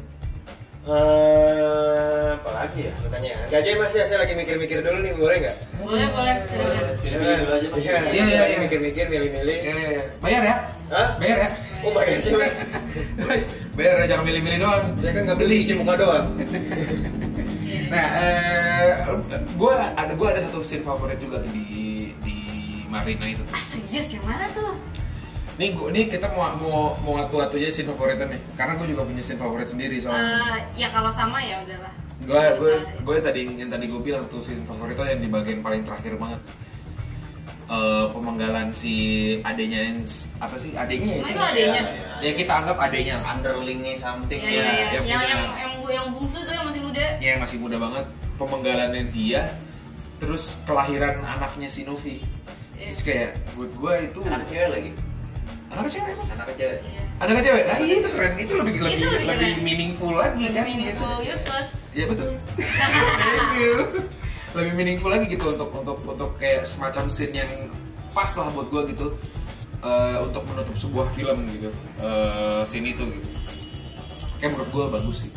Speaker 3: Eh, apa lagi ya katanya? Gak aja mas ya, saya lagi mikir-mikir dulu nih, boleh nggak?
Speaker 1: Boleh, boleh, silakan.
Speaker 4: Pilih-pilih dulu aja, Mas.
Speaker 3: Iya,
Speaker 2: Iya, iya,
Speaker 3: saya lagi
Speaker 2: iya.
Speaker 3: mikir-mikir, milih-milih.
Speaker 2: eh, bayar ya
Speaker 3: Hah?
Speaker 2: bayar ya
Speaker 3: Oh bayar sih mas?
Speaker 2: bayar ya jangan milih-milih doang
Speaker 3: Saya kan nggak beli, di muka doang.
Speaker 2: Nah, eh, gue ada gue ada satu scene favorit juga tuh di di Marina itu.
Speaker 1: Ah, serius yang mana tuh?
Speaker 2: Nih gue nih kita mau mau mau ngatu atu aja scene favoritnya nih. Karena gue juga punya scene favorit sendiri soalnya.
Speaker 1: Eh, ya kalau sama ya udahlah.
Speaker 2: Gue
Speaker 1: Nggak
Speaker 2: gue
Speaker 1: usah.
Speaker 2: gue tadi yang tadi gue bilang tuh scene favoritnya yang di bagian paling terakhir banget. Eh, pemenggalan si adenya yang s- apa sih adenya ya?
Speaker 1: Emang Ah, itu adenya?
Speaker 2: Ya kita anggap adenya lah.
Speaker 4: underlingnya something
Speaker 1: Iya,
Speaker 4: ya,
Speaker 1: iya, iya.
Speaker 2: yang
Speaker 1: Yang yang
Speaker 2: punya-
Speaker 1: yang bu- yang bungsu tuh yang masih muda.
Speaker 2: Ya masih muda banget. Pemenggalannya dia terus kelahiran anaknya si
Speaker 1: Iya.
Speaker 2: Novi. Terus kayak buat gue itu
Speaker 4: anak cewek lagi
Speaker 2: Anak cewek emang?
Speaker 4: anak cewek
Speaker 1: Iya.
Speaker 2: Anak cewek? Nah iya itu keren, itu lebih
Speaker 1: Itu
Speaker 2: lebih,
Speaker 1: lebih
Speaker 2: lebih,
Speaker 1: keren.
Speaker 2: meaningful lagi
Speaker 1: Lebih
Speaker 2: kan?
Speaker 1: meaningful, useless.
Speaker 2: Ya betul. Thank you. Lebih meaningful lagi gitu untuk untuk untuk kayak semacam scene yang pas lah buat gue gitu eh, untuk menutup sebuah film gitu Eh, scene itu gitu. Kayak menurut gue bagus sih.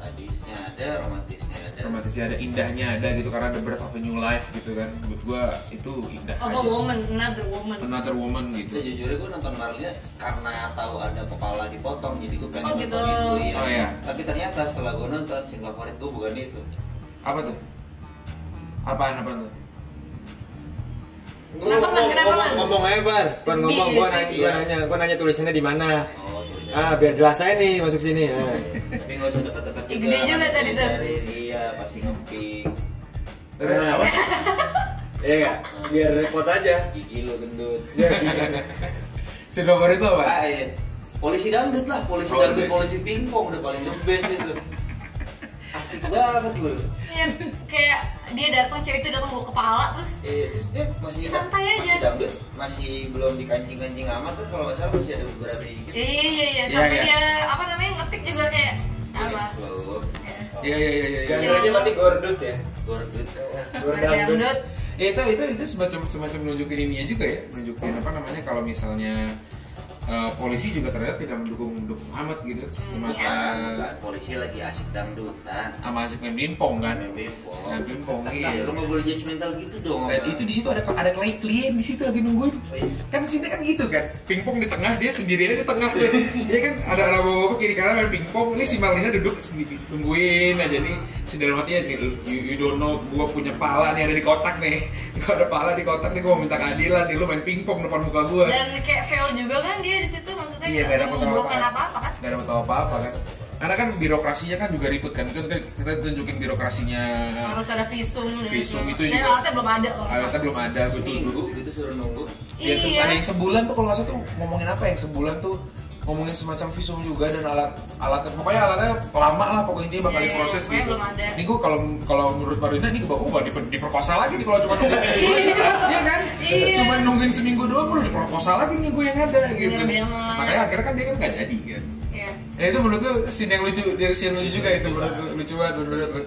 Speaker 4: sadisnya ada romantisnya
Speaker 1: Ya.
Speaker 4: ada
Speaker 2: Dramatisnya ada, indahnya ada gitu karena ada birth of a new life gitu kan. Buat gue itu indah.
Speaker 1: Of a
Speaker 2: aja.
Speaker 1: Oh, woman, Iya, another woman.
Speaker 2: Another woman
Speaker 4: itu
Speaker 2: gitu.
Speaker 4: jujur gue nonton Marlina karena tahu ada kepala dipotong jadi gue pengen
Speaker 1: Oh,
Speaker 4: nonton
Speaker 1: gitu.
Speaker 4: itu ya.
Speaker 2: Oh, iya.
Speaker 4: tapi ternyata setelah gue nonton scene favorit gue bukan itu
Speaker 2: Apa tuh? Apaan apaan tuh?
Speaker 3: Gua
Speaker 1: Kenapa, Man?
Speaker 3: ngomong-
Speaker 1: Kenapa, Man?
Speaker 3: ngomong- Ngomong aja bar, Bar ngomong, gua
Speaker 1: Iya,
Speaker 3: nanya,
Speaker 4: sih.
Speaker 3: gua nanya, gua nanya tulisannya di mana.
Speaker 4: oh iya.
Speaker 3: Ah, biar jelas aja nih masuk sini. Ah.
Speaker 4: tapi nggak usah deket-deket
Speaker 1: Ih, gede juga
Speaker 4: nanti
Speaker 1: tadi tuh.
Speaker 4: dari dia iya, pasti ngemping
Speaker 2: Keren, apa?
Speaker 3: Iya nggak? Biar repot aja.
Speaker 4: gigi lo gendut
Speaker 3: Iya, iya.
Speaker 2: Scene favorit lo apa?
Speaker 4: Ah, iya. polisi dangdut lah polisi
Speaker 2: Oh,
Speaker 4: dangdut
Speaker 2: best.
Speaker 4: polisi pingpong udah paling the best itu asik banget lu
Speaker 1: Iya, kayak dia datang cewek itu datang bawa kepala terus
Speaker 4: Eh, terus dia masih
Speaker 1: Santai aja.
Speaker 4: masih dangdut masih belum dikancing-kancing amat kan kalau nggak salah masih ada beberapa dikit
Speaker 1: iya iya iya, iya
Speaker 2: Iya,
Speaker 1: sampai
Speaker 2: iya.
Speaker 1: dia apa namanya ngetik juga kayak apa?
Speaker 4: slow
Speaker 1: Ya.
Speaker 2: Iya iya iya iya.
Speaker 3: Jangan aja mati gordut ya.
Speaker 4: gordut
Speaker 1: Ada yang
Speaker 3: Gordangdut.
Speaker 1: dangdut.
Speaker 2: ya itu itu itu semacam semacam nunjukin ininya juga ya nunjukin apa namanya kalau misalnya eh, polisi juga ternyata tidak mendukung mendukung amat gitu semata Iya.
Speaker 4: Bukan, Kan polisi lagi asik dangdutan.
Speaker 2: sama asik main bimpong kan
Speaker 4: Main bimbong.
Speaker 2: Main bimbong,
Speaker 4: Tapi
Speaker 2: iya.
Speaker 4: Lu nggak boleh judgmental gitu dong. Iya.
Speaker 2: Eh, itu di situ ada ada klien klien di situ lagi nungguin kan sini kan gitu kan pingpong di tengah dia sendirian di tengah tuh ya kan ada ada bawa bawa kiri kanan main pingpong ini si Marlina duduk sendiri tungguin aja nih si dalam hatinya nih, you, you don't know gua punya pala nih ada di kotak nih gua ada pala di kotak nih gua mau minta keadilan nih lu main pingpong depan muka gua
Speaker 1: dan kayak fail juga kan dia di situ maksudnya
Speaker 2: Iya, nggak
Speaker 1: nggak
Speaker 2: ada
Speaker 1: mengumpulkan
Speaker 2: apa-apa.
Speaker 1: apa-apa kan
Speaker 2: nggak ada tahu apa apa kan karena kan birokrasinya kan juga ribet kan kita, kita tunjukin birokrasinya
Speaker 1: harus ada visum dan
Speaker 2: Iya. Visum
Speaker 1: segala-
Speaker 2: itu
Speaker 1: dan
Speaker 2: juga.
Speaker 1: alatnya belum ada kalau nggak
Speaker 2: alatnya belum ada betul
Speaker 4: Seminggu gitu suruh nunggu.
Speaker 2: Ya, terus
Speaker 1: Iya.
Speaker 2: ada yang sebulan tuh kalau nggak salah tuh ngomongin apa yang sebulan tuh ngomongin semacam visum juga dan alat alatnya pokoknya alatnya lama lah pokoknya dia bakal
Speaker 1: Iya, iya,
Speaker 2: diproses
Speaker 1: pokoknya
Speaker 2: gitu.
Speaker 1: belum ada.
Speaker 2: Ini gue kalau kalau menurut Marina ini gue bakal diper, diperkosa lagi nih kalau cuma nungguin sebulan, iya kan?
Speaker 1: Iya.
Speaker 2: Cuma nungguin seminggu doang udah diperkosa lagi nih gue yang ada gitu.
Speaker 1: Bener-bener.
Speaker 2: Makanya akhirnya kan dia kan nggak jadi kan.
Speaker 1: Iya.
Speaker 2: Ya itu menurut tuh scene yang lucu dari scene lucu juga itu menurut lu- lucu banget menurut lu.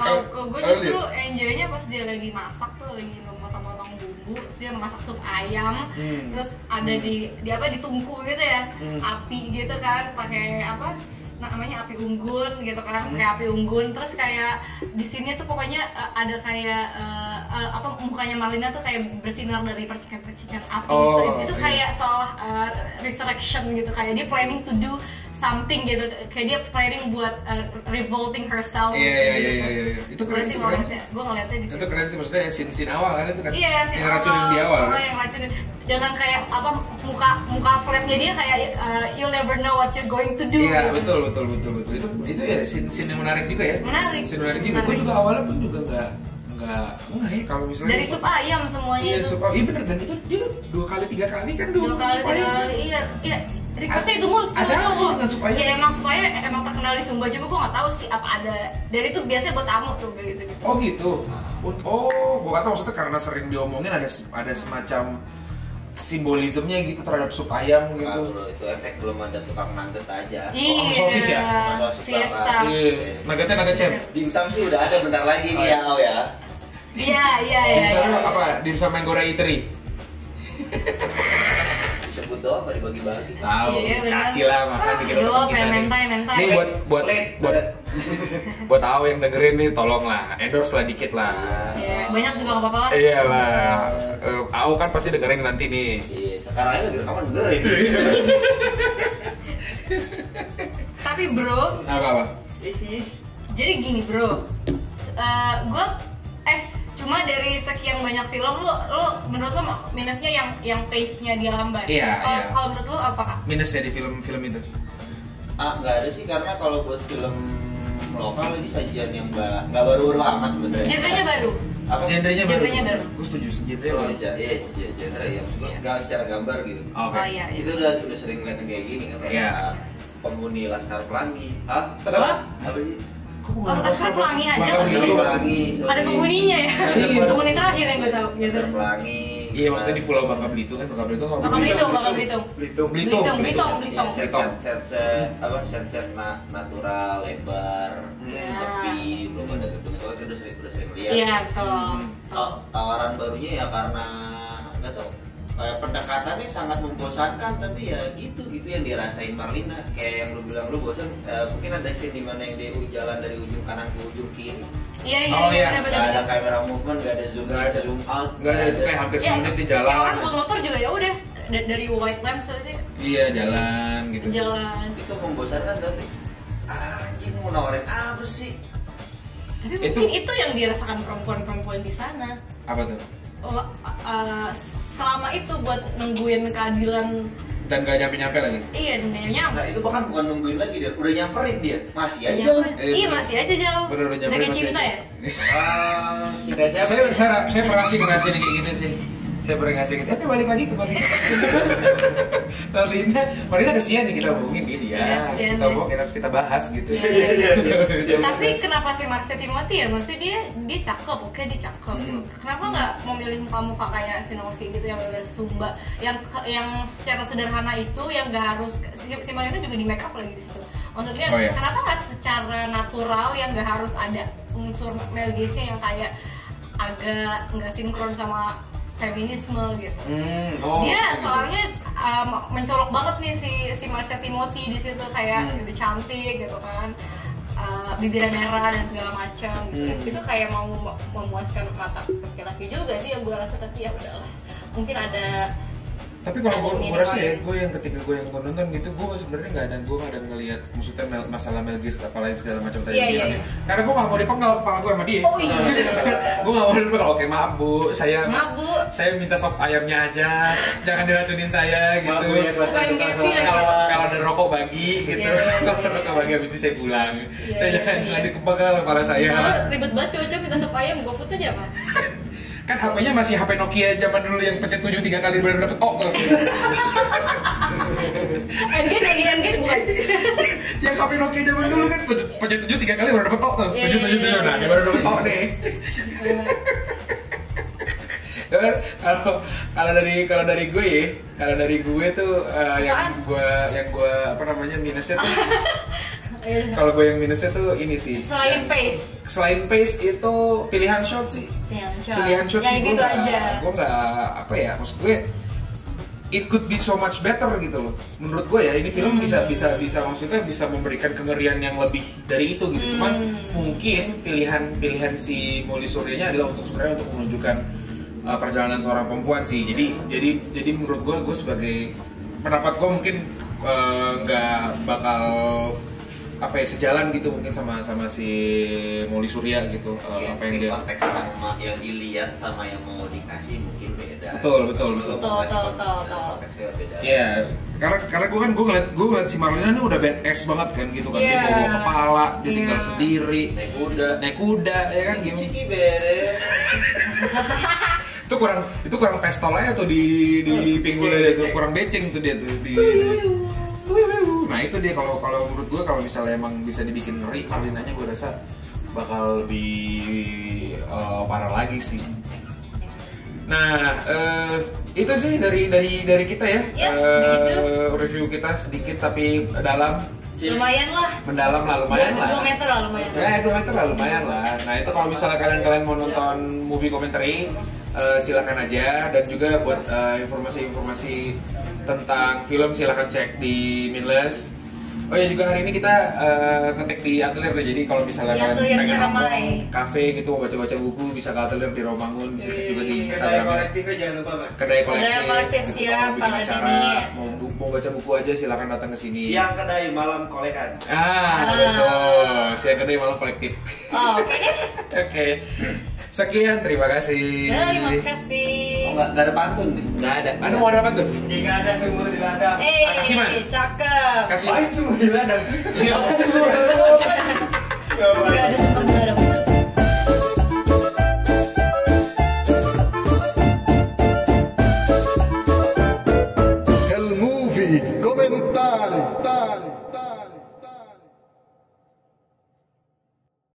Speaker 1: Kalau kalau gue
Speaker 2: Kalau
Speaker 1: justru
Speaker 2: dia-
Speaker 1: enjoy-nya pas dia lagi masak tuh lagi memotong-motong bumbu, terus dia masak sup ayam,
Speaker 2: Hmm.
Speaker 1: terus ada di di apa di tungku gitu ya, api gitu kan, pakai apa namanya api unggun gitu kan,
Speaker 2: Hmm.
Speaker 1: pakai api unggun, terus kayak di sini tuh pokoknya eh, ada kayak eh, eh, apa mukanya Marlina tuh kayak bersinar dari percikan-percikan api
Speaker 2: Oh,
Speaker 1: gitu. itu, itu
Speaker 2: iya.
Speaker 1: kayak seolah eh, resurrection gitu kayak dia planning to do something gitu kayak dia planning buat eh, revolting herself
Speaker 2: Iya iya iya iya iya. Itu
Speaker 1: gue
Speaker 2: keren
Speaker 1: sih
Speaker 2: itu
Speaker 1: mau
Speaker 2: keren.
Speaker 1: ngeliatnya, gue ngeliatnya di
Speaker 2: Itu
Speaker 1: situ.
Speaker 2: keren sih maksudnya scene-scene awal kan itu kan
Speaker 1: Iya, sih.
Speaker 2: yang racunin di awal kan.
Speaker 1: yang racunin dengan kayak apa muka muka flatnya dia kayak uh, you never know what you're going to do. gitu.
Speaker 2: Iya betul betul betul betul itu itu ya scene, scene yang menarik juga ya.
Speaker 1: Menarik.
Speaker 2: Scene menarik juga. Gue
Speaker 1: Menarik.
Speaker 2: juga awalnya pun juga nggak nggak nggak ya kalau misalnya
Speaker 1: Dari sup ayam semuanya
Speaker 2: Iya
Speaker 1: itu.
Speaker 2: sup ayam. Iya bener dan itu dia dua kali tiga kali kan dua,
Speaker 1: Dua kali
Speaker 2: sup
Speaker 1: tiga
Speaker 2: ayam.
Speaker 1: kali. Iya, iya. Requestnya itu mulu
Speaker 2: Ada apa sih dengan sup ayam?
Speaker 1: Ya emang sup ayam emang terkenal di Sumba Cuma gue gak tahu sih apa ada Dari itu biasanya buat tamu tuh kayak gitu
Speaker 2: Oh gitu. Oh, gue kata maksudnya karena sering diomongin ada se- ada semacam simbolismenya gitu terhadap sup ayam gitu.
Speaker 4: Nah, Kalau itu efek belum ada tukang mantet aja.
Speaker 1: Iya,
Speaker 2: sosis ya?
Speaker 4: Sosis
Speaker 1: fiesta
Speaker 4: bakar.
Speaker 2: Iya. Nuggetnya nugget champ.
Speaker 4: Dimsum sih udah ada bentar lagi nih ya, Au ya.
Speaker 1: Iya, iya, iya
Speaker 2: Dimsum
Speaker 1: iya.
Speaker 2: apa? Dimsum Manggora Eatery.
Speaker 4: ya. Disebut doang, apa dibagi-bagi.
Speaker 2: Tahu,
Speaker 1: Iya, benar.
Speaker 2: kasih lah makan dikit
Speaker 1: Yo,
Speaker 2: untuk kita
Speaker 1: pengen
Speaker 2: nih.
Speaker 1: mentai, mentai.
Speaker 2: Nih buat buat buat buat tahu yang dengerin nih tolong lah endorse lah dikit lah.
Speaker 1: Iya, Banyak juga gak apa-apa lah
Speaker 2: Iya. Iyalah, Eh, Au kan pasti dengerin nanti nih.
Speaker 4: Iya, sekarang aja rekaman bener ini.
Speaker 1: Tapi bro,
Speaker 2: Apa apa?
Speaker 1: Jadi gini bro, Eh gue eh cuma dari sekian banyak film lu lu menurut lu minusnya yang yang pace nya dia lambat.
Speaker 2: Iya,
Speaker 1: Kalau
Speaker 2: iya.
Speaker 1: kalau menurut lu apa kak?
Speaker 2: Minusnya ya di film-film itu.
Speaker 4: Ah, nggak ada sih karena kalau buat film lokal ini sajian yang ba- nggak baru-baru amat sebenarnya.
Speaker 1: Genrenya baru.
Speaker 4: Apa?
Speaker 2: Genrenya baru.
Speaker 1: Genrenya baru.
Speaker 2: Gue setuju, genrenya
Speaker 4: Oh,
Speaker 2: baru.
Speaker 4: iya, iya, iya, genre ya. Maksudnya nggak secara gambar gitu.
Speaker 2: Ah, Oke.
Speaker 1: Oh iya.
Speaker 4: Kita udah udah sering lihat yang kayak gini kan kayak
Speaker 2: Iya.
Speaker 4: penghuni Laskar Pelangi. Hah?
Speaker 2: Apa?
Speaker 4: Apa sih?
Speaker 2: Kok bukan
Speaker 1: Oh,
Speaker 2: Laskar
Speaker 1: Laskar Pelangi aja
Speaker 2: Bukan
Speaker 1: tuh.
Speaker 2: Laskar
Speaker 4: Penghuni Pelangi.
Speaker 1: Ada
Speaker 4: sorry.
Speaker 1: penghuninya ya.
Speaker 4: Iya.
Speaker 1: Penghuni terakhir yang gue tahu. Ya,
Speaker 4: Laskar
Speaker 1: terus.
Speaker 4: Pelangi.
Speaker 2: Iya maksudnya di Pulau Bangka Belitung kan Bangka Belitung.
Speaker 1: Bakal Belitung, bakal Belitung.
Speaker 2: Belitung.
Speaker 1: Belitung, Belitung, Belitung.
Speaker 4: Set set set set apa set set na- natural lebar
Speaker 1: Iya.
Speaker 4: sepi belum ada gedung itu udah sering udah sering lihat.
Speaker 1: Iya betul. betul.
Speaker 4: Taw- tawaran barunya ya karena nggak tahu kayak pendekatannya sangat membosankan tapi ya gitu gitu yang dirasain Marlina kayak yang lu bilang lu bosan eh, mungkin ada scene di mana yang dia jalan dari ujung kanan ke ujung kiri
Speaker 1: Iya iya
Speaker 2: Oh, iya.
Speaker 1: iya
Speaker 4: nggak
Speaker 1: benar-benar.
Speaker 4: ada kamera movement nggak ada zoom
Speaker 2: Nggak
Speaker 4: nggak
Speaker 2: ada.
Speaker 4: ada zoom out
Speaker 2: Enggak ada itu kayak hampir
Speaker 1: Ya,
Speaker 2: semenit di
Speaker 1: ya
Speaker 2: jalan.
Speaker 1: orang buat motor juga ya udah da- dari white lens aja
Speaker 2: Iya jalan gitu.
Speaker 1: jalan.
Speaker 4: itu membosankan tapi anjing mau nawarin apa sih
Speaker 1: Tapi
Speaker 2: Itu-
Speaker 1: mungkin itu yang dirasakan perempuan-perempuan di sana.
Speaker 2: Apa tuh?
Speaker 1: L- uh, selama itu buat nungguin keadilan
Speaker 2: Dan gak nyampe-nyampe lagi.
Speaker 1: iya dunianya
Speaker 4: nah itu bahkan bukan nungguin lagi dia udah nyamperin dia masih aja
Speaker 2: Eh,
Speaker 1: iya masih aja jauh
Speaker 2: Bener-bener nyampe.
Speaker 1: udah kayak cinta ya
Speaker 4: Ah, kita
Speaker 2: Saya saya saya pernah sih ngerasain yang kayak gini sih. Saya pernah ngasih gitu. Tapi balik lagi ke Marlina. Marlina, Marlina kesian nih kita bohongin dia. dia.
Speaker 1: Iya,
Speaker 2: Harus
Speaker 1: kesian
Speaker 2: kita
Speaker 1: nih.
Speaker 2: bohongin, harus kita bahas gitu.
Speaker 1: Iya, iya, tapi kenapa sih Marcia Timothy ya maksudnya dia dia cakep oke dia cakep
Speaker 2: Hmm.
Speaker 1: kenapa nggak memilih muka-muka kayak Sinovi gitu yang bener Sumba yang yang secara sederhana itu yang nggak harus si si Marina juga di make up lagi di situ maksudnya
Speaker 2: Oh, iya.
Speaker 1: kenapa nggak secara natural yang nggak harus ada unsur Mel Gibson yang kayak agak nggak sinkron sama feminisme gitu.
Speaker 2: Hmm, oh.
Speaker 1: dia
Speaker 2: gitu.
Speaker 1: soalnya um, mencolok banget nih si si Marsha Timothy di situ kayak
Speaker 2: Hmm.
Speaker 1: gitu cantik gitu kan. Uh, bibirnya merah dan segala macam gitu.
Speaker 2: Hmm.
Speaker 1: Itu kayak mau mem- memuaskan mata laki-laki juga sih yang gue rasa tapi ya udahlah. Mungkin ada
Speaker 2: Tapi kalau gue,
Speaker 1: Ini
Speaker 2: gue rasa ya,
Speaker 1: doang.
Speaker 2: gue yang ketika gue yang gua nonton gitu, gue sebenarnya nggak ada gue nggak ada ngelihat maksudnya mel- masalah Mel Gibson apa lain segala macam tadi
Speaker 1: Iya,
Speaker 2: dia
Speaker 1: iya,
Speaker 2: bilang
Speaker 1: iya.
Speaker 2: ya. Karena gue nggak mau dipenggal kepala gue sama dia.
Speaker 1: Oh iya.
Speaker 2: gue nggak mau dipenggal. Oke maaf bu, saya
Speaker 1: Maaf, Bu.
Speaker 2: saya minta sop ayamnya aja, jangan diracunin saya gitu.
Speaker 3: Maaf, Bu, ya, buat
Speaker 1: Bukan
Speaker 3: kesalahan.
Speaker 1: KFC lagi.
Speaker 2: kalau kalau ada rokok bagi gitu,
Speaker 1: Iya, iya,
Speaker 2: kalau ada
Speaker 1: iya.
Speaker 2: rokok bagi habis ini saya pulang.
Speaker 1: Iya,
Speaker 2: saya
Speaker 1: iya,
Speaker 2: jangan
Speaker 1: iya.
Speaker 2: jangan dipenggal kepala saya.
Speaker 1: Soalnya ribet banget cowok-cowok minta sup ayam, gue put aja apa?
Speaker 2: Kan HP-nya masih HP Nokia zaman dulu yang pencet tujuh tiga kali baru dapet oh.
Speaker 1: Endgame, ini endgame bukan?
Speaker 2: yang HP Nokia zaman dulu kan pencet, pencet tujuh tiga kali baru dapet oh tuh
Speaker 1: Iya,
Speaker 2: tujuh
Speaker 1: iya,
Speaker 2: tujuh tujuh
Speaker 1: iya,
Speaker 2: nah
Speaker 1: iya.
Speaker 2: dia baru dapet oh deh Dan kalau kalau dari kalau dari gue ya kalau dari gue tuh eh, yang
Speaker 1: Apaan?
Speaker 2: gue yang gue apa namanya minusnya tuh
Speaker 1: Ayo,
Speaker 2: kalau gue yang minusnya tuh ini sih
Speaker 1: Selain
Speaker 2: Yang-
Speaker 1: face,
Speaker 2: selain pace itu pilihan shot sih
Speaker 1: yang shot,
Speaker 2: pilihan shot
Speaker 1: ya
Speaker 2: sih
Speaker 1: gitu aja.
Speaker 2: gue nggak apa ya maksud gue it could be so much better gitu loh menurut gue ya ini film
Speaker 1: Hmm.
Speaker 2: bisa bisa bisa maksudnya bisa memberikan kengerian yang lebih dari itu gitu cuman
Speaker 1: Hmm.
Speaker 2: mungkin pilihan pilihan si Molly Suryanya adalah untuk sebenarnya untuk menunjukkan uh, perjalanan seorang perempuan sih jadi jadi jadi menurut gue gue sebagai pendapat gue mungkin uh, nggak bakal apa ya sejalan gitu mungkin sama sama si Molly Surya gitu uh,
Speaker 1: Iya,
Speaker 4: Mungkin
Speaker 2: apa yang dia
Speaker 4: konteks sama yang dilihat sama yang mau dikasih mungkin beda.
Speaker 2: Betul, betul, betul.
Speaker 1: Betul, betul, betul, betul.
Speaker 4: Konteksnya beda.
Speaker 2: Iya, karena karena gue kan gue ngeliat gue ngeliat si Marlina ini udah badass banget kan gitu kan
Speaker 1: Iya.
Speaker 2: dia bawa kepala, dia
Speaker 1: Iya.
Speaker 2: tinggal sendiri,
Speaker 4: Naik kuda.
Speaker 2: naik kuda ya kan gitu.
Speaker 3: Ciki beres.
Speaker 2: Itu kurang itu kurang pestol aja tuh di di
Speaker 1: Hmm,
Speaker 2: pinggulnya dia tuh kurang beceng tuh dia tuh di. Nah itu dia kalau kalau menurut gue kalau misalnya emang bisa dibikin ngeri Marlinanya gue rasa bakal lebih eh, parah lagi sih. Nah, eh, itu sih dari dari dari kita ya.
Speaker 1: Yes,
Speaker 2: Eh,
Speaker 1: begitu.
Speaker 2: review kita sedikit tapi dalam,
Speaker 1: Lumayan lah,
Speaker 2: mendalam lah lumayan
Speaker 1: Dua-
Speaker 2: lah.
Speaker 1: dua meter lah lumayan.
Speaker 2: Ya, dua meter lah lumayan lah. Nah, itu kalau misalnya kalian-kalian mau nonton movie commentary eh, silakan aja dan juga buat eh, informasi-informasi tentang film silakan cek di Minless. Oh ya juga hari ini kita eh, ngetek di atelier deh. Jadi kalau misalnya
Speaker 1: Di
Speaker 2: kalian
Speaker 1: Atelier
Speaker 2: pengen
Speaker 1: Ciremai.
Speaker 2: nongkrong kafe gitu mau baca-baca buku bisa ke atelier di Romangun, bisa cek juga di
Speaker 1: Yeay.
Speaker 3: Kedai
Speaker 2: Instagramnya
Speaker 3: kolektifnya jangan lupa mas.
Speaker 2: kedai kolektif,
Speaker 1: Kedai kolektif,
Speaker 2: gitu,
Speaker 1: siap,
Speaker 2: mau bikin
Speaker 1: Pak
Speaker 2: acara,
Speaker 1: Dinies.
Speaker 2: mau, bu- mau baca buku aja silakan datang ke sini.
Speaker 3: Siang kedai malam kolekan.
Speaker 2: Ah,
Speaker 1: Ah.
Speaker 2: betul. Siang kedai malam kolektif.
Speaker 1: Oh, oke deh.
Speaker 2: Oke. Sekian, terima kasih.
Speaker 1: Terima kasih.
Speaker 4: Oh, nggak nggak ada pantun nih. Nggak ada.
Speaker 2: Anu mau ada apa tuh?
Speaker 3: Jika ada sumur di ladang.
Speaker 1: Eh,
Speaker 2: Makasih, Man.
Speaker 1: cakep.
Speaker 2: Kasih.
Speaker 3: Lain sumur di ladang. Ya apa sumur di ladang? Gak
Speaker 1: Gak
Speaker 3: boleh.
Speaker 1: ada tempat, gak ada tempat.
Speaker 5: El movie, commentare, tare.